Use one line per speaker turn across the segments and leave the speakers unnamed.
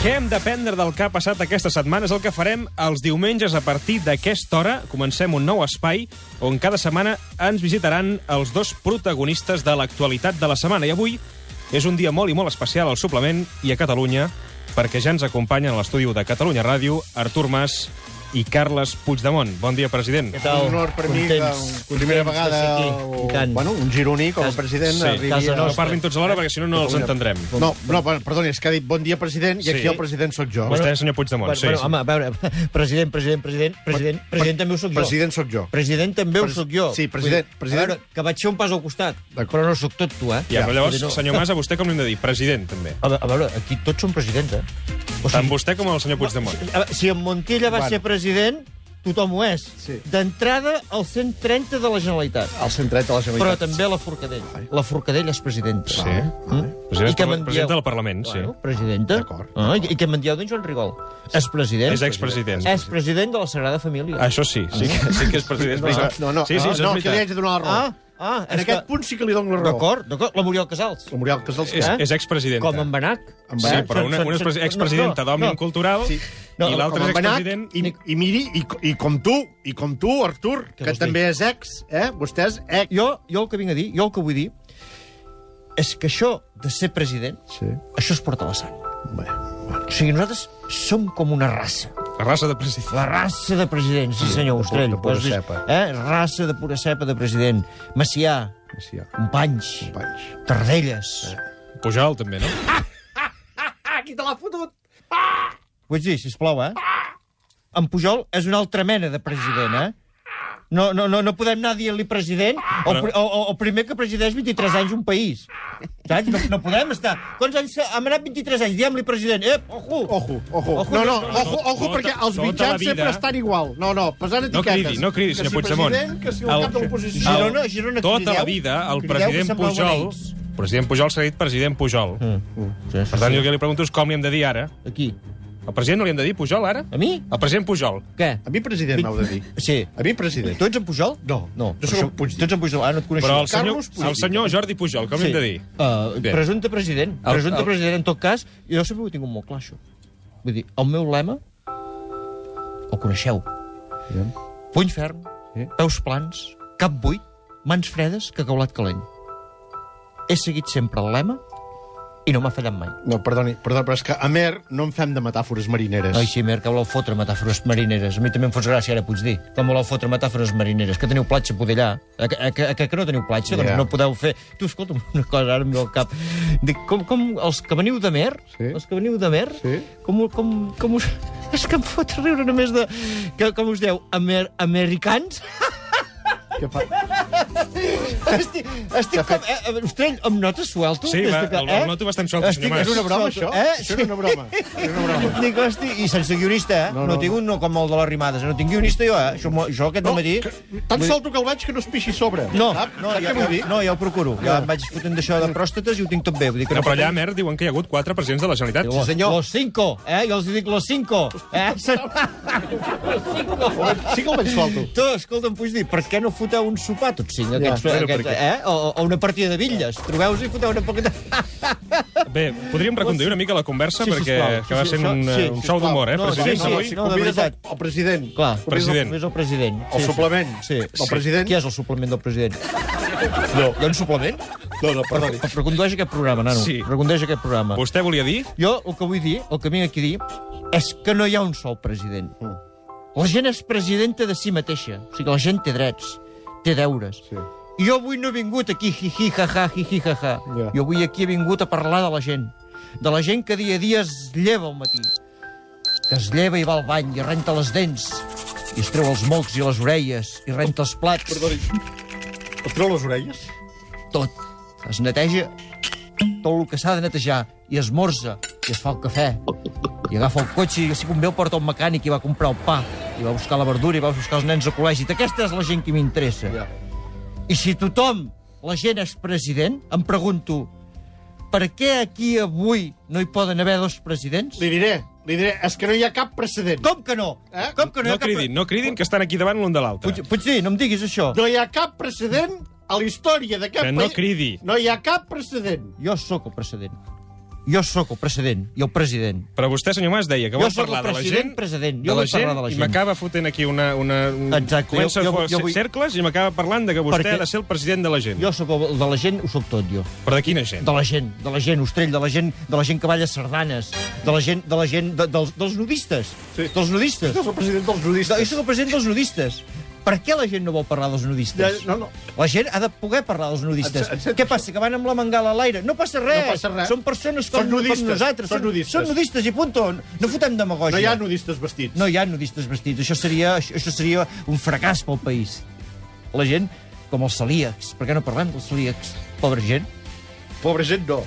Què hem d'aprendre del que ha passat aquesta setmana és el que farem els diumenges a partir d'aquesta hora. Comencem un nou espai on cada setmana ens visitaran els dos protagonistes de l'actualitat de la setmana. I avui és un dia molt i molt especial al suplement i a Catalunya perquè ja ens acompanyen a l'estudi de Catalunya Ràdio Artur Mas i Carles Puigdemont. Bon dia, president.
Què tal?
Un honor per mi,
Contents,
la primera
contents de
vegada,
ser aquí.
el-
I tant.
bueno, un gironí com a
Cas-
president
sí,
arribi
casa
a-
No
nostra.
parlin tots alhora perquè si no no els entendrem.
No, no, per- perdoni, és que ha dit bon dia, president, i
Sí.
aquí el president sóc jo.
Vostè, senyor Puigdemont,
Bueno,
sí.
bueno,
sí.
home, a veure, president, president, president, president, president també ho sóc jo.
President sóc jo.
President també ho
Pres-
sóc jo.
Sí, president-
Vull dir,
president-
A veure, que vaig ser un pas al costat,
D'acord.
però no sóc tot tu, eh?
Ja, però llavors,
Vull dir, no.
senyor Mas, a vostè com li hem de dir? President, també.
A veure, a veure, aquí tots són presidents, eh? O
Tant vostè com el senyor Puigdemont.
a veure, si en Montilla va
Bueno.
ser president, tothom ho és.
Sí.
D'entrada, el 130 de la Generalitat.
El centret de la
Però
Generalitat.
també la Forcadell. La Forcadell és presidenta.
Sí.
Mm?
Presidenta-
I què me'n dieu?
presidenta del Parlament, sí.
Bueno, presidenta.
D'acord.
Ah, I i què me'n dieu d'en Joan Rigol? És president.
És expresident.
És president de la Sagrada Família.
Això sí, sí que, sí que és president.
No,
veritat.
no, no,
sí, sí,
no,
això
no,
és
aquí li haig
veritat.
de donar la raó.
Ah, ah,
En
és
aquest
que-
punt sí que li dono la raó.
D'acord, d'acord. La Muriel Casals.
La Muriel Casals.
És,
Eh?
és expresidenta.
Com en Benac.
En
Sí,
Benac.
però una, una és pres- expresidenta d'Òmnium Cultural
Sí.
No,
i l'altra és
com en Benac,
Ah, expresident...
i, i miri, i, co- i com tu, i com tu, Artur,
Què
que
vols dir?
també és ex, eh? Vostè és ex.
Jo, jo el que vinc a dir, jo el que vull dir, és que això de ser president,
Sí.
això es porta a la sang.
Bé, bueno.
O sigui, nosaltres som com una raça.
La raça de president.
La raça de president, sí senyor,
de pura-
Ostrell.
de pura
Doncs,
cepa.
Eh? Raça de pura cepa de president. Macià,
Sí, ja.
Companys,
Companys.
Tardelles...
Pujol, també, no?
Ah, qui te l'ha fotut?
Vull dir, sisplau, eh? En Pujol és una altra mena de president, eh? No, no, no, no podem anar dient-li president o,
Però-
pri- o, o, o primer que presideix 23 anys un país. Saps? No, no podem estar... Quants anys s'ha- hem anat 23 anys? Diem-li president. Ep, ojo!
Ojo, ojo.
Ojo,
no, no,
no,
ojo,
tot-
ojo,
tota-
perquè els
tota la
mitjans
vida-
sempre estan igual. No, no, pesant
No
etiquetes.
cridi, no cridi,
Que
senyor
si
Puigdemont.
president, Que si el, cap de l'oposició...
el- Girona- Girona
tota la
crideu,
vida, el
crideu que
president
sembleu
Pujol...
beneïts.
President Pujol s'ha dit president Pujol.
Mm.
Sí,
Per tant, jo el que li pregunto és com li hem de dir ara.
Aquí.
Al president no li hem de dir Pujol, ara?
A mi?
Al president Pujol.
Què?
A mi president m'heu de dir.
Sí.
A mi president.
Tu ets en Pujol?
No,
No.
jo sóc
per
en
això-
Puigdemont.
Tu ets en Pujol. Ah, no et coneixia.
Però el senyor,
Carlos Pujol.
el senyor Jordi Pujol, com li hem de dir?
Uh,
Bé.
presumpte president.
El-
Presumpte
el-
president, en tot cas, jo sempre ho he tingut molt clar, això. Vull dir, el meu lema, el coneixeu. Puny ferm,
Sí.
peus plans, cap buit, mans fredes, que caulat calent. He seguit sempre el lema i no m'ha fallat mai.
No, perdoni, perdó, però és que a Mer no en fem de metàfores marineres.
Ai, sí, Mer, que voleu fotre metàfores marineres. A mi també em fots gràcia, ara Puigdí. Que voleu fotre metàfores marineres, que teniu platja poder allà. A, que- a, que- a, que- que no teniu
Ja.
platja, doncs no podeu fer... Tu, escolta'm, una cosa, ara em ve al cap. Dic, com, com els que veniu de Mer,
Sí.
els que veniu de Mer,
Sí.
com, com, com us... És que em fot riure només de... Que, com us dieu? Amer, americans?
Què fa?
estic, estic com... Eh, eh, ostres, em notes suelto?
Sí,
des
va,
de que-
el, el noto bastant suelto, senyor Mas.
És una broma, això?
Solto, eh?
Això era una broma. Era una broma.
Dic, hosti, i sense guionista, eh?
No,
No,
no,
no, tinc un no com el de les rimades, no tinc guionista jo, eh? Jo, jo aquest no, matí...
que, tan solto que el vaig que no es pixi a sobre.
No,
Sap?
no,
Sap
ja,
què vull dir?
ja, no, ja ho procuro. Ja em vaig fotent d'això de pròstates i ho tinc tot bé. Vull dir que
No, però allà a Mer diuen que hi ha hagut quatre presidents de la Generalitat.
Los,
senyor.
los cinco, eh? Jo els dic los cinco. Eh?
Sí que el vaig solto.
Tu, escolta'm, puc dir, per què no foteu un sopar tots cinc? Aquests,
bueno,
aquests, eh? O, o una partida de bitlles. Trobeu-vos i foteu una poqueta...
Bé, podríem reconduir una mica la conversa
Sí,
perquè
sisplau.
que va
Sí, sí,
sent
això-
un,
sí,
un
sisplau.
xou d'humor, eh,
No,
president?
sí, sí.
avui?
si
no, de
convides
veritat.
el, el president.
Clar,
President.
És el president.
El suplement.
Sí.
El president.
Qui és el suplement del president?
No.
Hi ha un suplement?
No, no, perdoni.
Re- Recondueix aquest programa, nano.
Sí.
Recondueix aquest programa.
Vostè volia dir?
Jo el que vull dir, el que vinc aquí a dir, és que no hi ha un sol president.
Mm.
La gent és presidenta de si mateixa. O sigui, la gent té drets, té deures.
Sí.
I jo avui no he vingut aquí, hi, hi, ha, ha, hi, hi, ha, ha.
Ja.
Jo avui aquí he vingut a parlar de la gent. De la gent que dia a dia es lleva al matí. Que es lleva i va al bany, i renta les dents, i es treu els mocs i les orelles, i renta els plats.
Perdoni. Et treu les orelles?
tot. Es neteja tot el que s'ha de netejar i esmorza i es fa el cafè i agafa el cotxe i si convé el porta al mecànic i va a comprar el pa i va a buscar la verdura i va a buscar els nens al col·legi. Aquesta és la gent que m'interessa.
Ja.
I si tothom, la gent és president, em pregunto per què aquí avui no hi poden haver dos presidents?
Li diré, li diré, és que no hi ha cap precedent.
Com que no?
Eh?
Com que no? hi
No
ha cap-
cridin, no cridin, que estan aquí davant l'un de l'altre.
Puig, Puigdí, no em diguis això.
No hi ha cap precedent a la història d'aquest
Que
país.
no cridi.
No hi ha cap precedent.
Jo sóc el precedent. Jo sóc el precedent i el president.
Però vostè, senyor Mas, deia que
Jo
vol
sóc el
parlar de la
president,
gent...
president.
de
Jo
la
vull
gent,
parlar de la
I
gent.
m'acaba fotent aquí una... una un...
Exacte,
Comença a
jo- jo-
fer
jo vull-
cercles i m'acaba parlant de que vostè
Perquè-
ha de ser el president de la gent.
Jo Doncs- sóc el de la gent, ho sóc tot, jo.
Però de quina gent?
De la gent, de la gent, ostrell, de la gent, de la gent que balla sardanes, de la gent, de la gent, de, dels, dels nudistes.
Sí.
Dels nudistes.
És el president dels
Jo
nudistes.
sóc el president dels nudistes. Per què la gent no vol parlar dels nudistes?
Ja, no, no.
La gent ha de poder parlar dels nudistes.
Et- et sento
Què passa, que van amb la mangala a l'aire? No passa res.
No passa res.
Són persones com,
Són nudistes.
com nosaltres.
Són nudistes.
Són nudistes i punto. No fotem demagògia.
No hi ha nudistes vestits.
No hi ha nudistes vestits. Això seria, això això seria un fracàs pel país. La gent, com els celíacs. Per què no parlem dels celíacs? Pobra gent.
Pobre gent, no.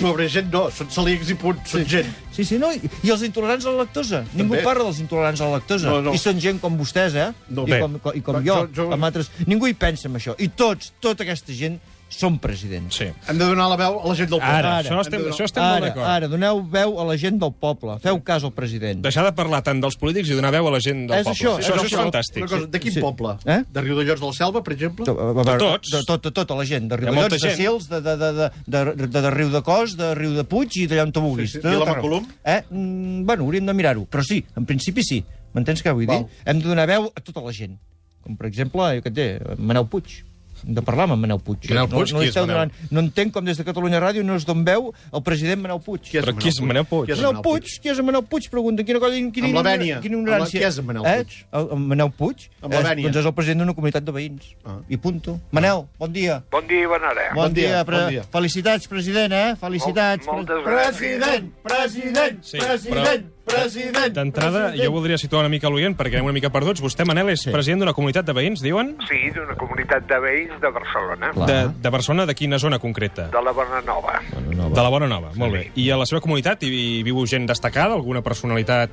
Pobre gent, no. Són celíacs i punt. Són gent.
Sí, sí, no? I i els intolerants a la lactosa. Ningú parla dels intolerants a la lactosa.
No, no.
I són gent com vostès, eh?
No.
I,
Bé.
com, co- I com
Jo-
jo,
jo-
amb altres... Ningú hi pensa en això. I tots, tota aquesta gent, són presidents.
Sí.
Hem de donar la veu a la gent del poble.
Ara,
Ara.
això estem, això estem molt
Ara,
d'acord.
ara, doneu veu a la gent del poble. Feu cas al president.
Deixar de parlar tant dels polítics i donar veu a la gent del
És
poble.
això,
això,
és
això és
això.
fantàstic.
Una cosa, de quin
Sí.
poble?
Eh?
De Riudellots del Selva, per exemple?
A veure,
De tots.
De, tot, de tota la gent, de
Hi ha molta
Riudellots, de
gent.
Sils, de, de, de, de, de, de, de Riu de Cos, de Riu de Puig i d'allà on tu vulguis.
Sí, sí,
De tot arreu.
Vilamacolum.
Eh? Mm, bueno, hauríem de mirar-ho, però sí, en principi sí. M'entens què vull dir?
Val.
Hem de donar veu a tota la gent. Com, per exemple, jo què et diré, Manel Puig. Hem de parlar amb en Manel Puig.
Manel Puig,
no, no,
qui
li
és
esteu
Manel?
no entenc com des de Catalunya Ràdio no es don veu el president Manel Puig.
Qui és
Però qui és Manel Puig?
Qui és
Manel Puig, qui és en Manel Puig? Pregunta, quina cosa... Quina,
Amb la vènia.
Quina
Amb la-
ignorància.
qui és en Manel Puig?
Eh? El, en Manel Puig?
Amb la
Eh,
vènia.
Doncs és el president d'una comunitat de veïns.
Ah.
I punto. Manel, bon dia.
Bon dia i bona hora.
Bon,
dia,
dia, pre
bon dia.
felicitats, president, eh? Felicitats.
Molt- moltes
President, president,
Sí, president,
president.
D'entrada, jo voldria situar una mica l'oient, perquè anem una mica perduts. Vostè, Manel, és president d'una comunitat de veïns, diuen?
Sí, d'una comunitat de veïns de Barcelona,
Clar.
De, de Barcelona, de quina zona concreta?
de la Bona Nova.
De la Bona Nova, molt bé. I a la seva comunitat hi, hi viu gent destacada, alguna personalitat?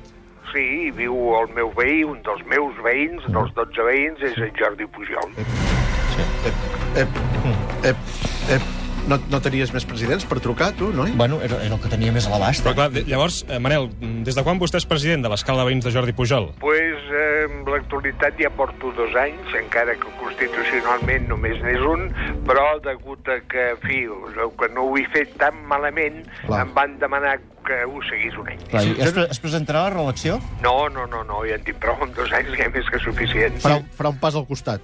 Sí, hi viu el meu veí, un dels meus veïns, dels 12 veïns, és en Jordi Pujol.
Ep, ep, ep. No, no tenies més presidents per trucar, tu, noi?
Bueno, era, era el que tenia més a l'abast.
Però clar, de- llavors, eh, Manel, mm, des de quan vostè és president de l'escala de veïns de Jordi Pujol?
Pues, eh, en l'actualitat ja porto dos anys, encara que constitucionalment només n'és un, però degut a que, en fi, que no ho he fet tan malament,
Clar.
em van demanar que ho seguís un any.
Clar, i es, pre- es presentarà a la reelecció?
No, no, no, no, ja en tinc prou, amb dos anys ja és més que suficient.
Farà, farà un pas al costat.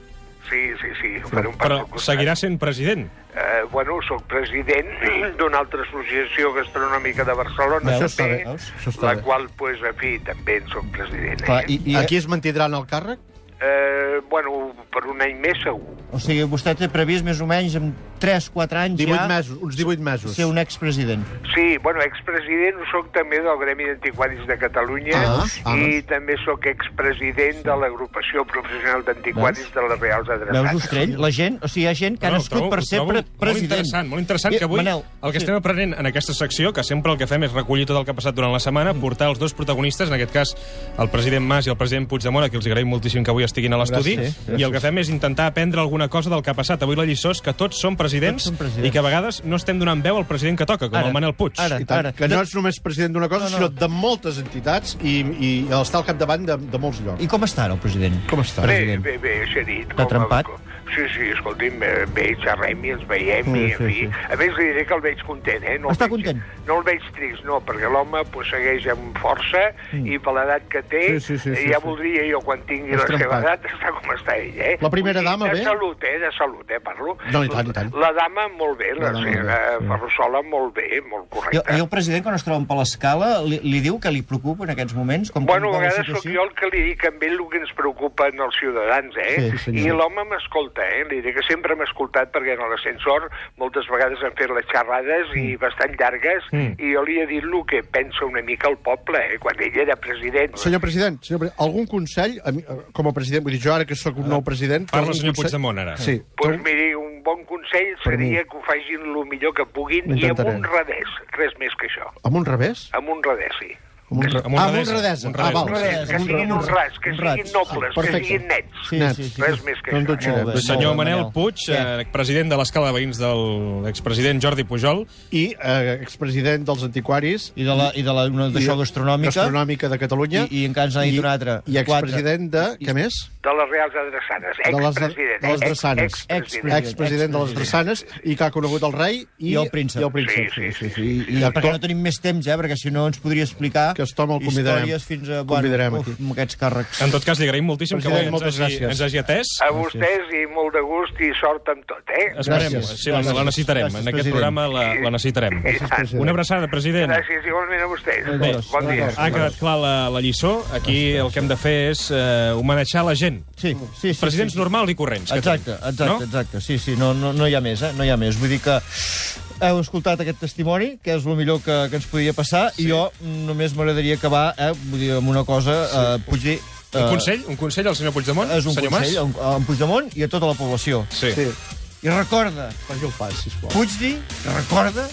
Sí, sí, sí, ho faré un pas
Però
al costat.
seguirà sent president.
Eh, bueno, sóc president d'una altra associació gastronòmica de Barcelona,
Veus,
també,
està bé, veus?
Això està
la
bé.
qual, pues, en fi, també en sóc president.
Clar,
eh?
i, i,
Aquí es mantindran el càrrec?
Eh, bueno, per un any més segur.
O sigui, vostè té previst més o menys en 3-4 anys
18
ja
mesos, uns 18 mesos.
ser un expresident.
Sí, bueno, expresident ho sóc també del Gremi d'Antiquaris de Catalunya
Ah, ah.
i també sóc expresident de l'agrupació professional d'antiquaris
Veus?
de les Reals
Veus,
Adreçades.
Ostrell? La gent, o sigui, hi ha gent que ha
Bueno,
nascut
ho trobo-
per
ho
ser
trobo
pre
Molt
president.
interessant, molt interessant que avui
Manel,
el que
sí.
estem aprenent en aquesta secció, que sempre el que fem és recollir tot el que ha passat durant la setmana,
Mm.
portar els dos protagonistes, en aquest cas el president Mas i el president Puigdemont, a qui els agraïm moltíssim que avui estiguin a l'estudi,
Gràcies,
i el que fem és intentar aprendre alguna cosa del que ha passat. Avui la lliçó és que tots som presidents,
Tots som presidents.
i que a vegades no estem donant veu al president que toca, com
Ara,
el Manel Puig.
ara.
I tant,
Ara,
que
de-
no és només president d'una cosa,
No,
no,
no.
no. sinó de moltes entitats i, i està al capdavant de, de molts llocs.
I com està ara el president?
Com està?
Bé,
president.
bé, bé, Xerit.
T'ha trempat?
Sí, sí, escolti'm, eh, bé, xerrem i ens veiem,
Sí,
sí, i en
sí,
fi.
sí.
A més, li diré que el veig content, eh? No el
Està
veig,
content?
No el veig trist, no, perquè l'home pues, segueix amb força mm. i per l'edat que té,
Sí, sí, sí,
eh,
sí,
ja
sí.
voldria jo, quan tingui
Has
la seva
trempat.
edat, estar com està ell, eh?
La primera
Vull dir,
dama,
de
bé?
salut, eh? De salut, eh? Parlo.
No, i tant, i tant.
La dama, molt bé, la,
La
la
dama,
senyora
bé, sí.
Ferrusola, molt bé, molt
I,
correcta.
I el president, quan es troben per l'escala, li, li diu que li preocupa en aquests moments? Com
Bueno,
com
Doncs
va la
a vegades sóc
situació?
jo el que li dic a ell el que ens preocupa en els ciutadans, eh?
Sí, senyor.
I l'home m'escolta, eh? Li diré que sempre m'ha escoltat perquè en l'ascensor moltes vegades han fet les xerrades i bastant llargues
Mm.
i jo li he dit el que pensa una mica el poble, eh? Quan ell era president.
Senyor president, senyor president, algun consell, a mi, eh, com a president, vull dir, jo ara que sóc un nou president... té
Parla,
algun
senyor
consell-
Puigdemont, ara.
Sí.
Doncs
té un-
miri, un bon consell
Per
seria
mi.
que ho facin el millor que puguin i amb
Intentaré.
un revés, res més que això.
Amb un revés?
Amb un revés, sí.
Amb un,
Amb un
ah, amb
radesa.
un radesa.
Un
Ah, val.
radesa.
No,
radesa,
que
un
siguin
radesa.
honrats, que
Un
siguin
radesa.
nobles, que
Ah, perfecte.
siguin nets.
Sí,
Nets. Doncs
sí, sí.
Res més que
No en
això.
dutxarem.
Molt
El
bé,
senyor
molt bé,
Manel
Manel.
Puig, eh, president de l'escala de veïns del expresident Jordi Pujol.
I eh, expresident dels antiquaris...
I de la, i de la, una d'això
i-
gastronòmica.
Gastronòmica de Catalunya.
I- i encara ens n'ha dit
I-
una altra.
I expresident de... Què més?
De les Reals Adreçanes,
de les,
expresident.
de les
eh,
Drassanes.
ex-
Expresident.
Expresident.
Expresident de les Drassanes i que ha conegut el rei i,
I el príncep.
I el príncep.
Sí, sí, sí,
I,
I
i
perquè
actor,
no tenim més temps, eh? Perquè si no ens podria explicar
Que estom el convidarem.
històries fins a...
Convidarem
bueno, uf,
aquí.
amb aquests càrrecs.
En tot cas, li agraïm moltíssim que avui
President,
ens
moltes
hagi,
gràcies.
ens hagi atès.
A vostès i molt de gust i sort amb tot, eh?
Esperem,
Gràcies.
sí, la, la
Gràcies.
necessitarem.
Gràcies,
en aquest
president.
programa la, la necessitarem.
Gràcies, president.
Una abraçada, president.
Eh, ah, Gràcies igualment a vostès.
Molt gros,
Bon dia.
Ha quedat clar la, la lliçó. Aquí el que hem de fer és eh, homenatjar la gent.
Sí,
Mm.
sí, sí.
Presidents
sí, sí.
normals i corrents. que
Exacte,
tenim,
exacte, no? exacte. Sí, sí, no, no, no hi ha més, eh? No hi ha més. Vull dir que heu escoltat aquest testimoni, que és el millor que, que ens podia passar, sí. i jo només m'agradaria acabar eh, vull dir, amb una cosa, sí. eh, puc dir... Eh,
Un consell? Un consell al senyor Puigdemont?
És un
senyor
consell
Mas?
a, a en Puigdemont i a tota la població.
Sí.
sí,
I recorda,
faci el pas, sisplau.
Puig dir, recorda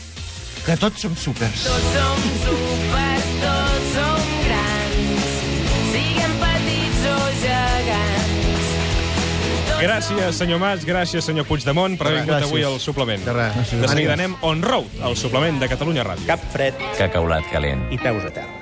que tots som supers.
Tots som supers, tots som grans, siguem petits o gegants. Tots
Gràcies, senyor Mas, gràcies, senyor Puigdemont, per haver vingut
Gràcies.
avui al suplement.
De res.
De seguida anem on road, al suplement de Catalunya Ràdio.
Cap fred
que ha caulat calent.
i peus a terra.